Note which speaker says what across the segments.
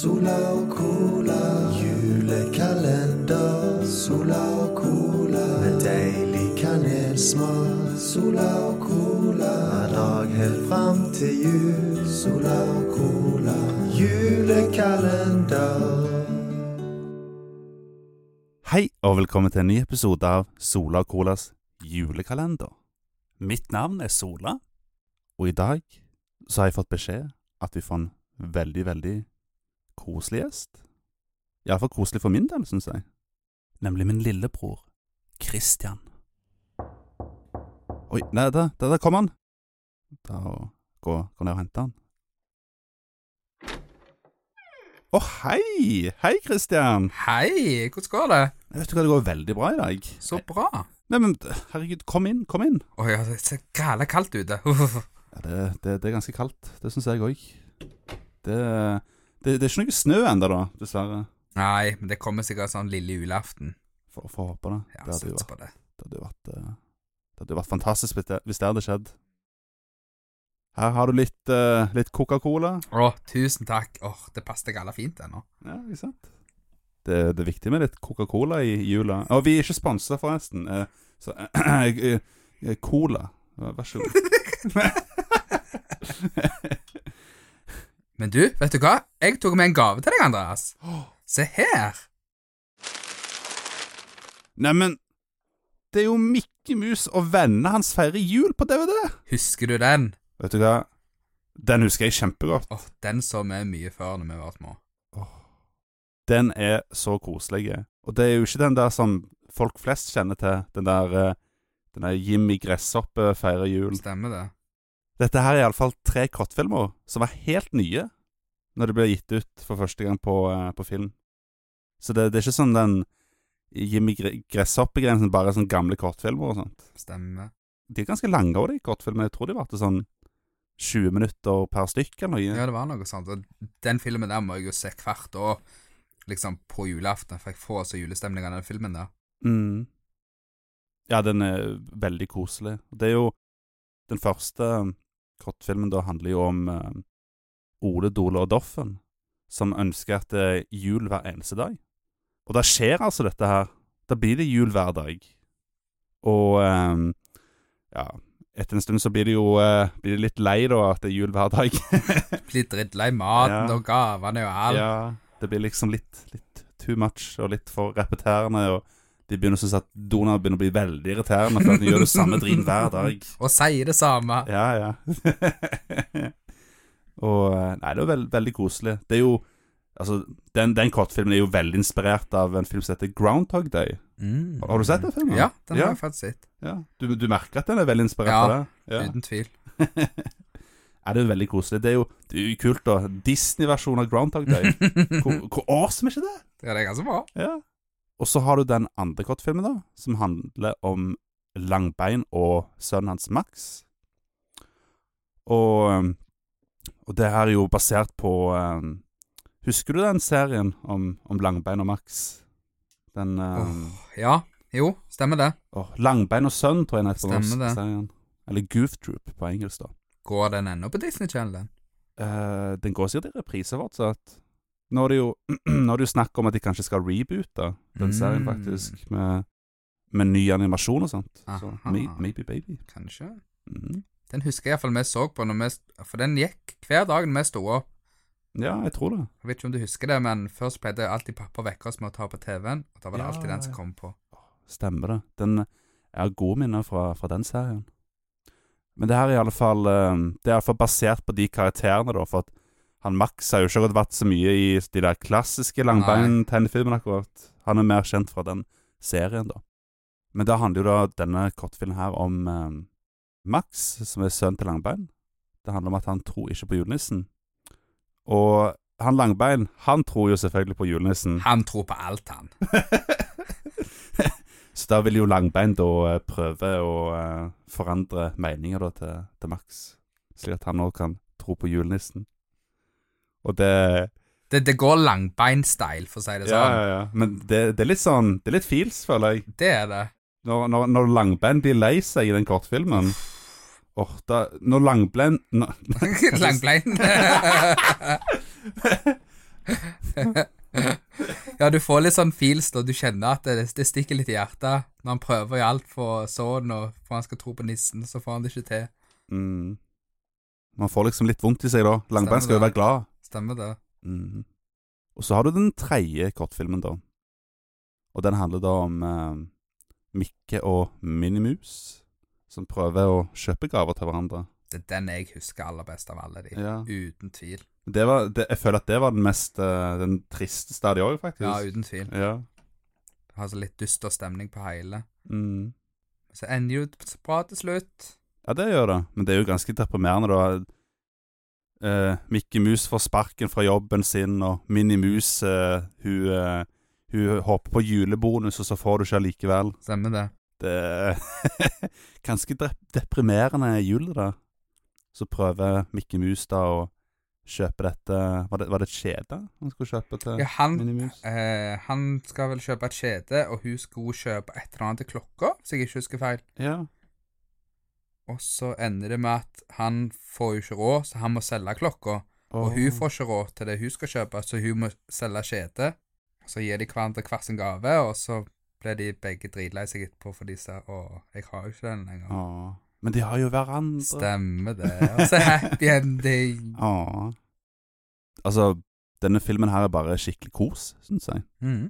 Speaker 1: Sola og cola, julekalender. Sola og cola, med deilig kanelsmak. Sola og cola, hver dag helt fram til jul. Sola og cola, julekalender.
Speaker 2: Hei og velkommen til en ny episode av Sola og Colas julekalender. Mitt navn er Sola. Og i dag så har jeg fått beskjed at vi får en veldig, veldig koselig gjest. Iallfall koselig for min del, syns jeg. Nemlig min lillebror Christian. Oi, nei, der, der, der kom han! Da gå, gå ned og hente han. Å, hei! Hei, Christian!
Speaker 3: Hei, hvordan går det?
Speaker 2: Vet du hva, det går veldig bra i dag.
Speaker 3: Så bra.
Speaker 2: Nei, men herregud, kom inn, kom inn.
Speaker 3: Oi, ja, det er så gæla kaldt ute. Uff.
Speaker 2: Ja, det, det, det er ganske kaldt, det syns jeg òg. Det, det, det er ikke noe snø ennå, da, dessverre.
Speaker 3: Nei, men det kommer sikkert sånn lille julaften.
Speaker 2: For, for å håpe det.
Speaker 3: Ja,
Speaker 2: Det hadde jo
Speaker 3: sats
Speaker 2: vært,
Speaker 3: på det.
Speaker 2: det hadde jo vært, eh, det hadde jo vært fantastisk hvis det, hvis det hadde skjedd. Her har du litt, eh, litt Coca-Cola.
Speaker 3: Å, tusen takk. Åh, det passet gæla fint ennå.
Speaker 2: Ja, ikke sant? Det, det er viktig med litt Coca-Cola i jula. Og vi er ikke sponsa, forresten. eh, Så eh, eh, Cola, vær så god.
Speaker 3: Men du, vet du hva? Jeg tok med en gave til deg, Andreas. Se her.
Speaker 2: Neimen, det er jo Mikke Mus og vennene hans feirer jul på DVD!
Speaker 3: Husker du den?
Speaker 2: Vet du hva? Den husker jeg kjempegodt.
Speaker 3: Åh, den så vi mye før når vi var små.
Speaker 2: Den er så koselig. Og det er jo ikke den der som folk flest kjenner til. Den der, eh, den der Jimmy Gresshoppe feirer jul.
Speaker 3: Stemmer det?
Speaker 2: Dette her er iallfall tre kortfilmer som var helt nye når det ble gitt ut for første gang på, eh, på film. Så det, det er ikke sånn den Jimmy Gre- Gresshoppe-greien som bare er sånn gamle kortfilmer og sånt.
Speaker 3: Stemmer.
Speaker 2: De er ganske lange òg, de kortfilmene. Jeg tror de varte sånn 20 minutter per stykk eller noe.
Speaker 3: Ja, det var noe sånt. Og den filmen der må jeg jo se hvert år, liksom på julaften, for jeg får så julestemning av den filmen der.
Speaker 2: Mm. Ja, den er veldig koselig. Det er jo Den første um, kortfilmen da handler jo om eh, Ole, Dole og Doffen, som ønsker at det er jul hver eneste dag. Og da skjer altså dette her. Da blir det jul hver dag. Og eh, ja Etter en stund så blir det jo eh, blir det litt lei, da, at det er jul hver dag.
Speaker 3: Blir drittlei maten
Speaker 2: Ja.
Speaker 3: og gavene og alt.
Speaker 2: Ja, det blir liksom litt, litt too much og litt for repeterende. Og de begynner å synes at Donald begynner å bli veldig irriterende for at han gjør det samme driten hver dag.
Speaker 3: Og sier det samme.
Speaker 2: Ja, ja. og eh, Nei, det er vel- veldig koselig. Det er jo Altså, den, den kortfilmen er jo veldig inspirert av en film som heter Groundhog Day.
Speaker 3: Mm.
Speaker 2: Har du sett den filmen?
Speaker 3: Ja, den
Speaker 2: Ja.
Speaker 3: har jeg faktisk sett.
Speaker 2: Ja. Du, du merker at den er veldig inspirert
Speaker 3: Ja,
Speaker 2: av det? Ja.
Speaker 3: Uten tvil.
Speaker 2: Ja, det er jo veldig koselig. Det er jo, det er jo kult, da. Disney-versjonen av Groundhog Day. Hvor, hvor awesome er ikke det?
Speaker 3: Ja, det er ganske bra.
Speaker 2: Ja. Og så har du den andre kortfilmen, da, som handler om Langbein og sønnen hans Max. Og, um, og det her er jo basert på um, Husker du den serien om, om Langbein og Max? Den um,
Speaker 3: Ja, jo, stemmer det.
Speaker 2: åh, Langbein og sønn, tror jeg den heter på
Speaker 3: Stemmer
Speaker 2: norsk.
Speaker 3: det.
Speaker 2: Serien. Eller Goof Troop på engelsk, da.
Speaker 3: Går den ennå på Disney Channel? den?
Speaker 2: Eh, den går sikkert i reprise fortsatt. Nå er det jo, nå er det jo snakk om at de kanskje skal reboote den serien,
Speaker 3: Mm.
Speaker 2: faktisk, med, med ny animasjon og sånt. Så,
Speaker 3: Aha.
Speaker 2: may, maybe Baby.
Speaker 3: Kanskje?
Speaker 2: Mhm.
Speaker 3: Den husker jeg iallfall vi så på, når vi, st- for den gikk hver dag når vi sto opp.
Speaker 2: Ja, jeg tror det.
Speaker 3: Jeg vet ikke om du husker det, men først pleide alltid pappa å vekke oss med å ta på TV-en, og da var det
Speaker 2: Ja,
Speaker 3: alltid den som
Speaker 2: ja.
Speaker 3: kom på.
Speaker 2: Stemmer det. Den, jeg har gode minner fra, fra den serien. Men det her er i alle fall eh, Det er i alle fall basert på de karakterene, da. For at han Max har jo ikke akkurat vært så mye i de der klassiske langbein-tegnefilmene, akkurat. Han er mer kjent fra den serien, da. Men da handler jo da denne kortfilmen her om eh, Max, som er sønnen til Langbein. Det handler om at han tror ikke på julenissen. Og han Langbein, han tror jo selvfølgelig på julenissen.
Speaker 3: Han tror på alt, han.
Speaker 2: Så da vil jo Langbein da eh, prøve å eh, forandre meninger da til, til Max, slik at han òg kan tro på julenissen. Og det
Speaker 3: Det, det går langbein-style, for å si det
Speaker 2: Ja,
Speaker 3: sånn.
Speaker 2: ja, ja. Men det, det er litt sånn Det er litt feels, føler jeg.
Speaker 3: Det er det.
Speaker 2: Når, når, når Langbein blir lei seg i den kortfilmen Åh, da Når Langbein når,
Speaker 3: langbein. Ja, du får litt sånn feels da, du kjenner at det, det stikker litt i hjertet når han prøver i alt for sånn, og for han skal tro på nissen, så får han det ikke til.
Speaker 2: Mm. Man får liksom litt vondt i seg da. Langbein skal jo
Speaker 3: Stemmer
Speaker 2: være
Speaker 3: det.
Speaker 2: glad.
Speaker 3: Stemmer det?
Speaker 2: Mhm. Og så har du den tredje kortfilmen, da. Og den handler da om eh, Mikke og Minimus, som prøver å kjøpe gaver til hverandre.
Speaker 3: Det er den jeg husker aller best av alle de.
Speaker 2: Ja.
Speaker 3: Uten tvil.
Speaker 2: Det var, det, jeg føler at det var den mest eh, Den tristeste av de òg, faktisk.
Speaker 3: Ja, uten tvil.
Speaker 2: ja.
Speaker 3: Har så litt dyster stemning på hele.
Speaker 2: Mm.
Speaker 3: Så ender jo det bra til slutt.
Speaker 2: ja, det gjør det. Men det er jo ganske deprimerende, da. Eh, Mikke Mus får sparken fra jobben sin, og Minimus eh, hun, eh, hun håper på julebonus, og så får du ikke allikevel.
Speaker 3: Stemmer det.
Speaker 2: Det er eh, ganske dep deprimerende jul, det der. Så prøver Mikke Mus da å kjøpe dette Var det, var det et skjede han skulle kjøpe til
Speaker 3: Ja, han,
Speaker 2: Minimus?
Speaker 3: eh, han skal vel kjøpe et skjede, og hun skulle kjøpe et eller annet til klokka, hvis jeg ikke husker feil.
Speaker 2: Ja.
Speaker 3: Og så ender det med at han får jo ikke råd, så han må selge klokka. Og hun får ikke råd til det hun skal kjøpe, så hun må selge skjede. Så gir de hverandre hver sin gave, og så blir de begge dritlei seg etterpå, for de ser Å, jeg har jo ikke den lenger.
Speaker 2: Åh. Men de har jo hverandre.
Speaker 3: Stemmer det. Og så happy ending.
Speaker 2: Åh. Altså, denne filmen her er bare skikkelig kos, syns jeg.
Speaker 3: Mm.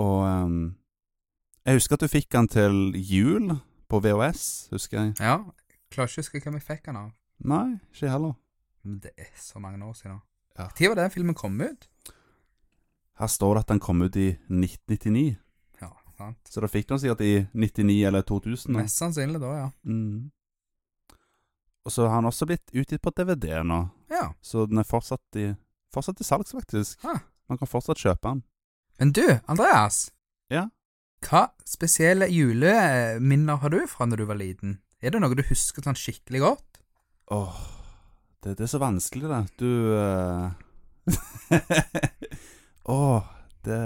Speaker 2: Og ehm, jeg husker at du fikk den til jul på VHS, husker jeg.
Speaker 3: Ja. jeg Klarer ikke å huske hvem jeg fikk den av.
Speaker 2: Nei, ikke jeg heller.
Speaker 3: Men det er så mange år siden.
Speaker 2: Ja.
Speaker 3: Når var den filmen kom ut?
Speaker 2: Her står det at den kom ut i 1999.
Speaker 3: Ja, sant.
Speaker 2: Så da fikk han sikkert i 99 eller 2000. da.
Speaker 3: Mest sannsynlig da, ja.
Speaker 2: Mm. Og så har han også blitt utgitt på DVD nå,
Speaker 3: Ja.
Speaker 2: så den er fortsatt i, fortsatt i salgs, faktisk.
Speaker 3: Ah.
Speaker 2: Man kan fortsatt kjøpe den.
Speaker 3: Men du, Andreas.
Speaker 2: Ja?
Speaker 3: Hva spesielle juleminner har du fra når du var liten? Er det noe du husker sånn skikkelig godt?
Speaker 2: Åh, det, det er så vanskelig, det. Du eh, Åh, det,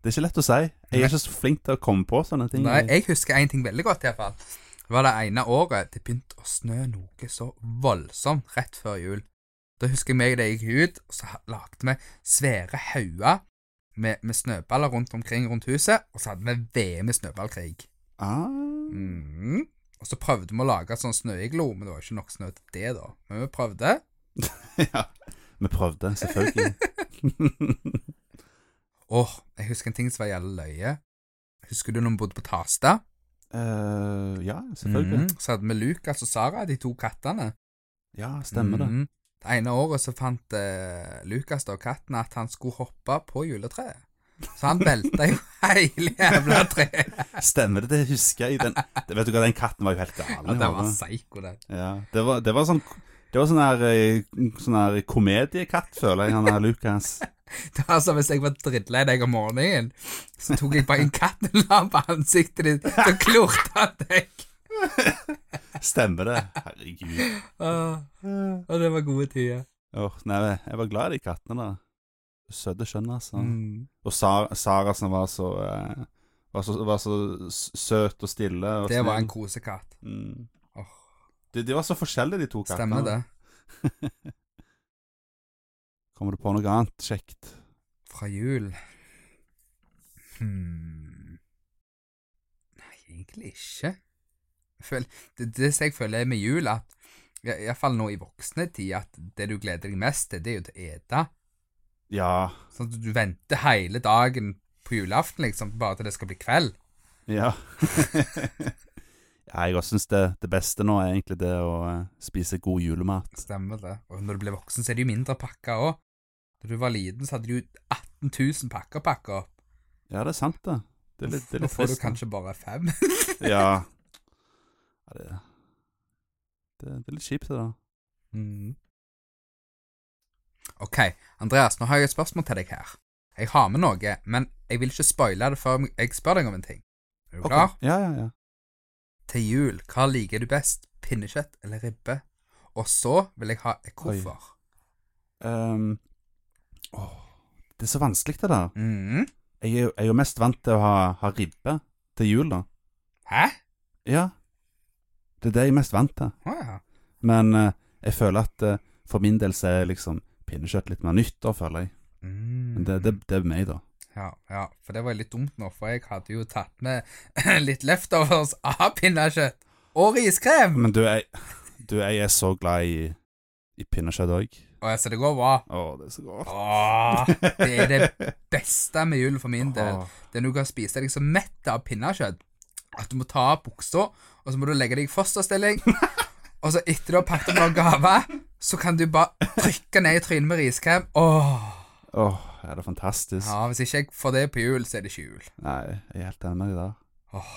Speaker 2: det er ikke lett å si. Jeg er ikke så flink til å komme på sånne ting.
Speaker 3: Nei, jeg husker én ting veldig godt, iallfall. Det var det ene året det begynte å snø noe så voldsomt rett før jul. Da husker jeg meg da jeg gikk ut, og så ha- lagde vi svære hauger med, med snøballer rundt omkring rundt huset, og så hadde vi VM i snøballkrig.
Speaker 2: Ah,
Speaker 3: Mm. Og så prøvde vi å lage sånn snøiglo, men det var jo ikke nok snø til det, da. Men vi prøvde,
Speaker 2: ja. Vi prøvde, selvfølgelig.
Speaker 3: Åh, jeg husker en ting som var jævlig løye. Husker du når vi bodde på Tasta?
Speaker 2: Eh, ja, selvfølgelig.
Speaker 3: Mhm. Så hadde vi Lucas og Sara, de to kattene.
Speaker 2: Ja, stemmer det.
Speaker 3: Mhm. Det ene året så fant eh, Lucas da katten at han skulle hoppe på juletreet. Så han velta jo hele jævla treet.
Speaker 2: Stemmer det, det husker jeg. Den, det, vet du hva, den katten var jo helt gal. i
Speaker 3: Ja, det var
Speaker 2: hodet.
Speaker 3: psyko, det.
Speaker 2: ja, det, var, det var sånn Det var sånn her, eh, sånn her komediekatt, føler jeg, han der Lucas.
Speaker 3: Det var som hvis jeg var drittlei deg om morgenen, så tok jeg bare en katt og la den på ansiktet ditt, så klorte han deg.
Speaker 2: Stemmer det? Herregud.
Speaker 3: Åh, og det var gode tider.
Speaker 2: Åh, nei, jeg var glad i de kattene, da. Søte skjønn, altså.
Speaker 3: Mm.
Speaker 2: Og Sara, Sara som var så, eh, var så Var så s- søt og stille. Og
Speaker 3: Det var en
Speaker 2: snill.
Speaker 3: kosekatt.
Speaker 2: Mm.
Speaker 3: Åh.
Speaker 2: De, de var så forskjellige, de to kattene.
Speaker 3: Stemmer det.
Speaker 2: Kommer du på noe annet kjekt?
Speaker 3: Fra jul hmm. Nei, egentlig ikke. Jeg føler, det, det som jeg føler med jul, at iallfall nå i voksne tid, at det du gleder deg mest til, det er jo til å ete.
Speaker 2: Ja.
Speaker 3: Sånn at du venter hele dagen på julaften, liksom, bare til det skal bli kveld.
Speaker 2: Ja. ja jeg også syns det, det beste nå er egentlig det å eh, spise god julemat.
Speaker 3: Stemmer det. Og når du blir voksen, så er det jo mindre pakker òg. Da du var liten, så hadde du jo 18 000 pakker pakka opp.
Speaker 2: Ja, det er sant, det. Det er litt, det er
Speaker 3: Nå
Speaker 2: litt
Speaker 3: får du
Speaker 2: trist.
Speaker 3: kanskje bare fem.
Speaker 2: da. Ja. ja det, det, det er litt kjipt, det da.
Speaker 3: Mm. Ok, Andreas, nå har jeg et spørsmål til deg her. Jeg har med noe, men jeg vil ikke spoile det før jeg spør deg om en ting. Er du
Speaker 2: Ok.
Speaker 3: klar?
Speaker 2: Ja, ja, ja.
Speaker 3: Til jul, hva liker du best? Pinnekjøtt eller ribbe? Og så vil jeg ha et hvorfor.
Speaker 2: Ehm, åh, det er så vanskelig, det der.
Speaker 3: Mm.
Speaker 2: Jeg er, jo- jeg er jo mest vant til å ha, ha ribbe til jul, da.
Speaker 3: Hæ?
Speaker 2: Ja. Det er det jeg er mest vant til.
Speaker 3: Å ja.
Speaker 2: Men eh, jeg føler at eh, for min del så er liksom pinnekjøtt litt mer nytt, da, føler jeg.
Speaker 3: Mm.
Speaker 2: Men det, det, det er meg, da.
Speaker 3: Ja, ja, for det var litt dumt nå, for jeg hadde jo tatt med litt leftovers av pinnekjøtt og riskrem.
Speaker 2: Men du, jeg, du, jeg er så glad i, i pinnekjøtt òg.
Speaker 3: Og jeg, så det går bra.
Speaker 2: Å, det er så godt.
Speaker 3: Åh, det er det beste med jul for min del.
Speaker 2: Åh.
Speaker 3: Det er når du kan spise deg så mett av pinnekjøtt at du må ta av buksa, og så må du legge deg i fosterstilling. og så etter du har pakket med noen gaver, så kan du bare trykke ned i trynet med riskrem. Åh.
Speaker 2: Åh, ja, det er fantastisk.
Speaker 3: Ja, hvis ikke jeg får det på jul, så er det ikke jul.
Speaker 2: Nei, jeg er helt enig med deg der.
Speaker 3: Åh.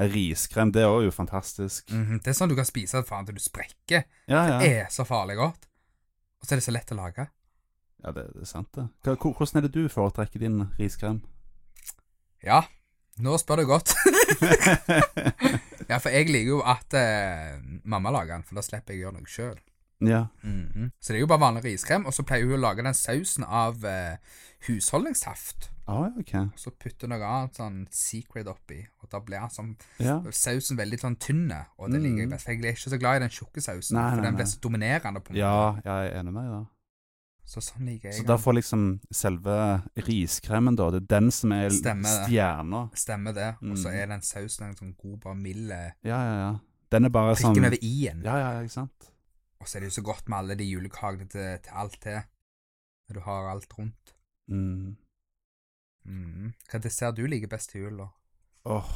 Speaker 2: Nei, Riskrem, det er også jo fantastisk.
Speaker 3: Mhm, Det er sånn du kan spise det faen til du sprekker.
Speaker 2: Ja, ja.
Speaker 3: Det er så farlig godt. Og så er det så lett å lage.
Speaker 2: Ja, det, det er sant, det. Hva, hvor- hvordan er det du foretrekker din riskrem?
Speaker 3: Ja, nå spør du godt. ja, for jeg liker jo at eh, mamma lager den, for da slipper jeg å gjøre noe sjøl.
Speaker 2: Ja. Mhm.
Speaker 3: Så det er jo bare vanlig riskrem, og så pleier hun å lage den sausen av eh, husholdningssaft.
Speaker 2: Å, ja, ok.
Speaker 3: Og så putter hun noe annet sånn secret oppi, og da blir han sånn
Speaker 2: Ja.
Speaker 3: sausen veldig sånn tynne, og det liker jeg best. For jeg er ikke så glad i den tjukke sausen,
Speaker 2: Mhm. Nei,
Speaker 3: for
Speaker 2: nei,
Speaker 3: den
Speaker 2: nei.
Speaker 3: blir så dominerende på en måte.
Speaker 2: ja, jeg er enig med deg der.
Speaker 3: Så sånn liker jeg
Speaker 2: Så
Speaker 3: den.
Speaker 2: da får liksom selve riskremen, da, det er den som er
Speaker 3: Stemmer det.
Speaker 2: stjerna?
Speaker 3: Stemmer det. Og så
Speaker 2: Mm.
Speaker 3: er den sausen en sånn god, bare mild eh,
Speaker 2: Ja, ja, ja. Den er bare sånn
Speaker 3: Prikken over i-en.
Speaker 2: Ja, ja, ikke sant?
Speaker 3: Og så er det jo så godt med alle de julekakene til, til alt til. Når du har alt rundt.
Speaker 2: Mm.
Speaker 3: Mm. Hva dessert du liker best til jul, da?
Speaker 2: Åh.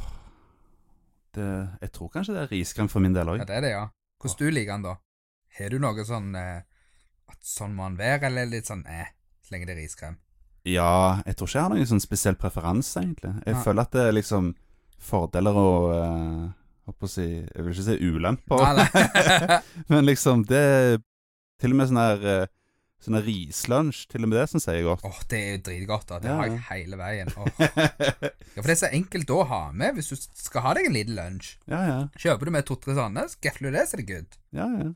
Speaker 2: Det, jeg tror kanskje det er riskrem for min del òg.
Speaker 3: Ja, det er det, ja. Hvordan du liker den, da? Har du noe sånn eh, at sånn må den være, eller litt sånn eh, så lenge det er riskrem?
Speaker 2: Ja, jeg tror ikke jeg har noen sånn spesiell preferanse, egentlig. Jeg
Speaker 3: Nei.
Speaker 2: føler at det er liksom fordeler og eh, Håper å si Jeg vil ikke si ulemper,
Speaker 3: Nei, nei.
Speaker 2: men liksom det er Til og med sånn her eh, Sånn her rislunsj, til og med det syns jeg er godt.
Speaker 3: Åh, det er jo dritgodt, da. Det
Speaker 2: Ja,
Speaker 3: har
Speaker 2: ja.
Speaker 3: jeg hele veien. Åh. Ja, For det er så enkelt å ha med hvis du skal ha deg en liten lunsj.
Speaker 2: ja, ja.
Speaker 3: Kjøper du med to-tre sånne, så gafler du det, så er det good.
Speaker 2: Ja, ja.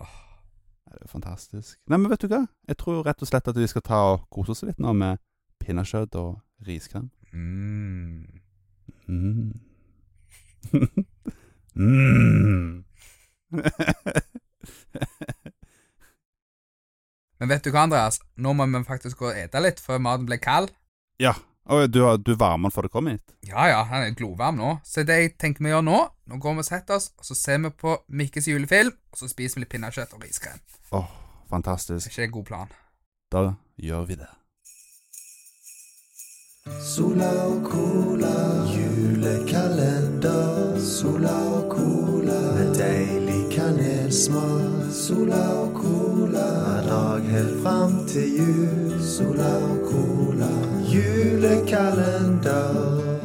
Speaker 3: Åh.
Speaker 2: Ja, Det er jo fantastisk. Nei, men vet du hva? Jeg tror rett og slett at vi skal ta og kose oss litt nå med pinnekjøtt og riskrem.
Speaker 3: Mm.
Speaker 2: Mm. mm.
Speaker 3: Men vet du hva, Andreas? Nå må vi faktisk gå og ete litt før maten blir kald.
Speaker 2: ja. Oi, du, har- du varmer den før du kom hit?
Speaker 3: Ja, ja, han er glovarm nå. Så det jeg tenker vi gjør nå, nå går vi og setter oss, og så ser vi på Mikkes julefilm, og så spiser vi litt pinnekjøtt og riskrem.
Speaker 2: Åh,
Speaker 3: Er
Speaker 2: fantastisk.
Speaker 3: ikke det en god plan?
Speaker 2: Da gjør vi det.
Speaker 1: Sola og cola, julekalender. Sola og cola, med deilig kanelsmak. Sola og cola, hver dag helt fram til jul. Sola og cola, julekalender.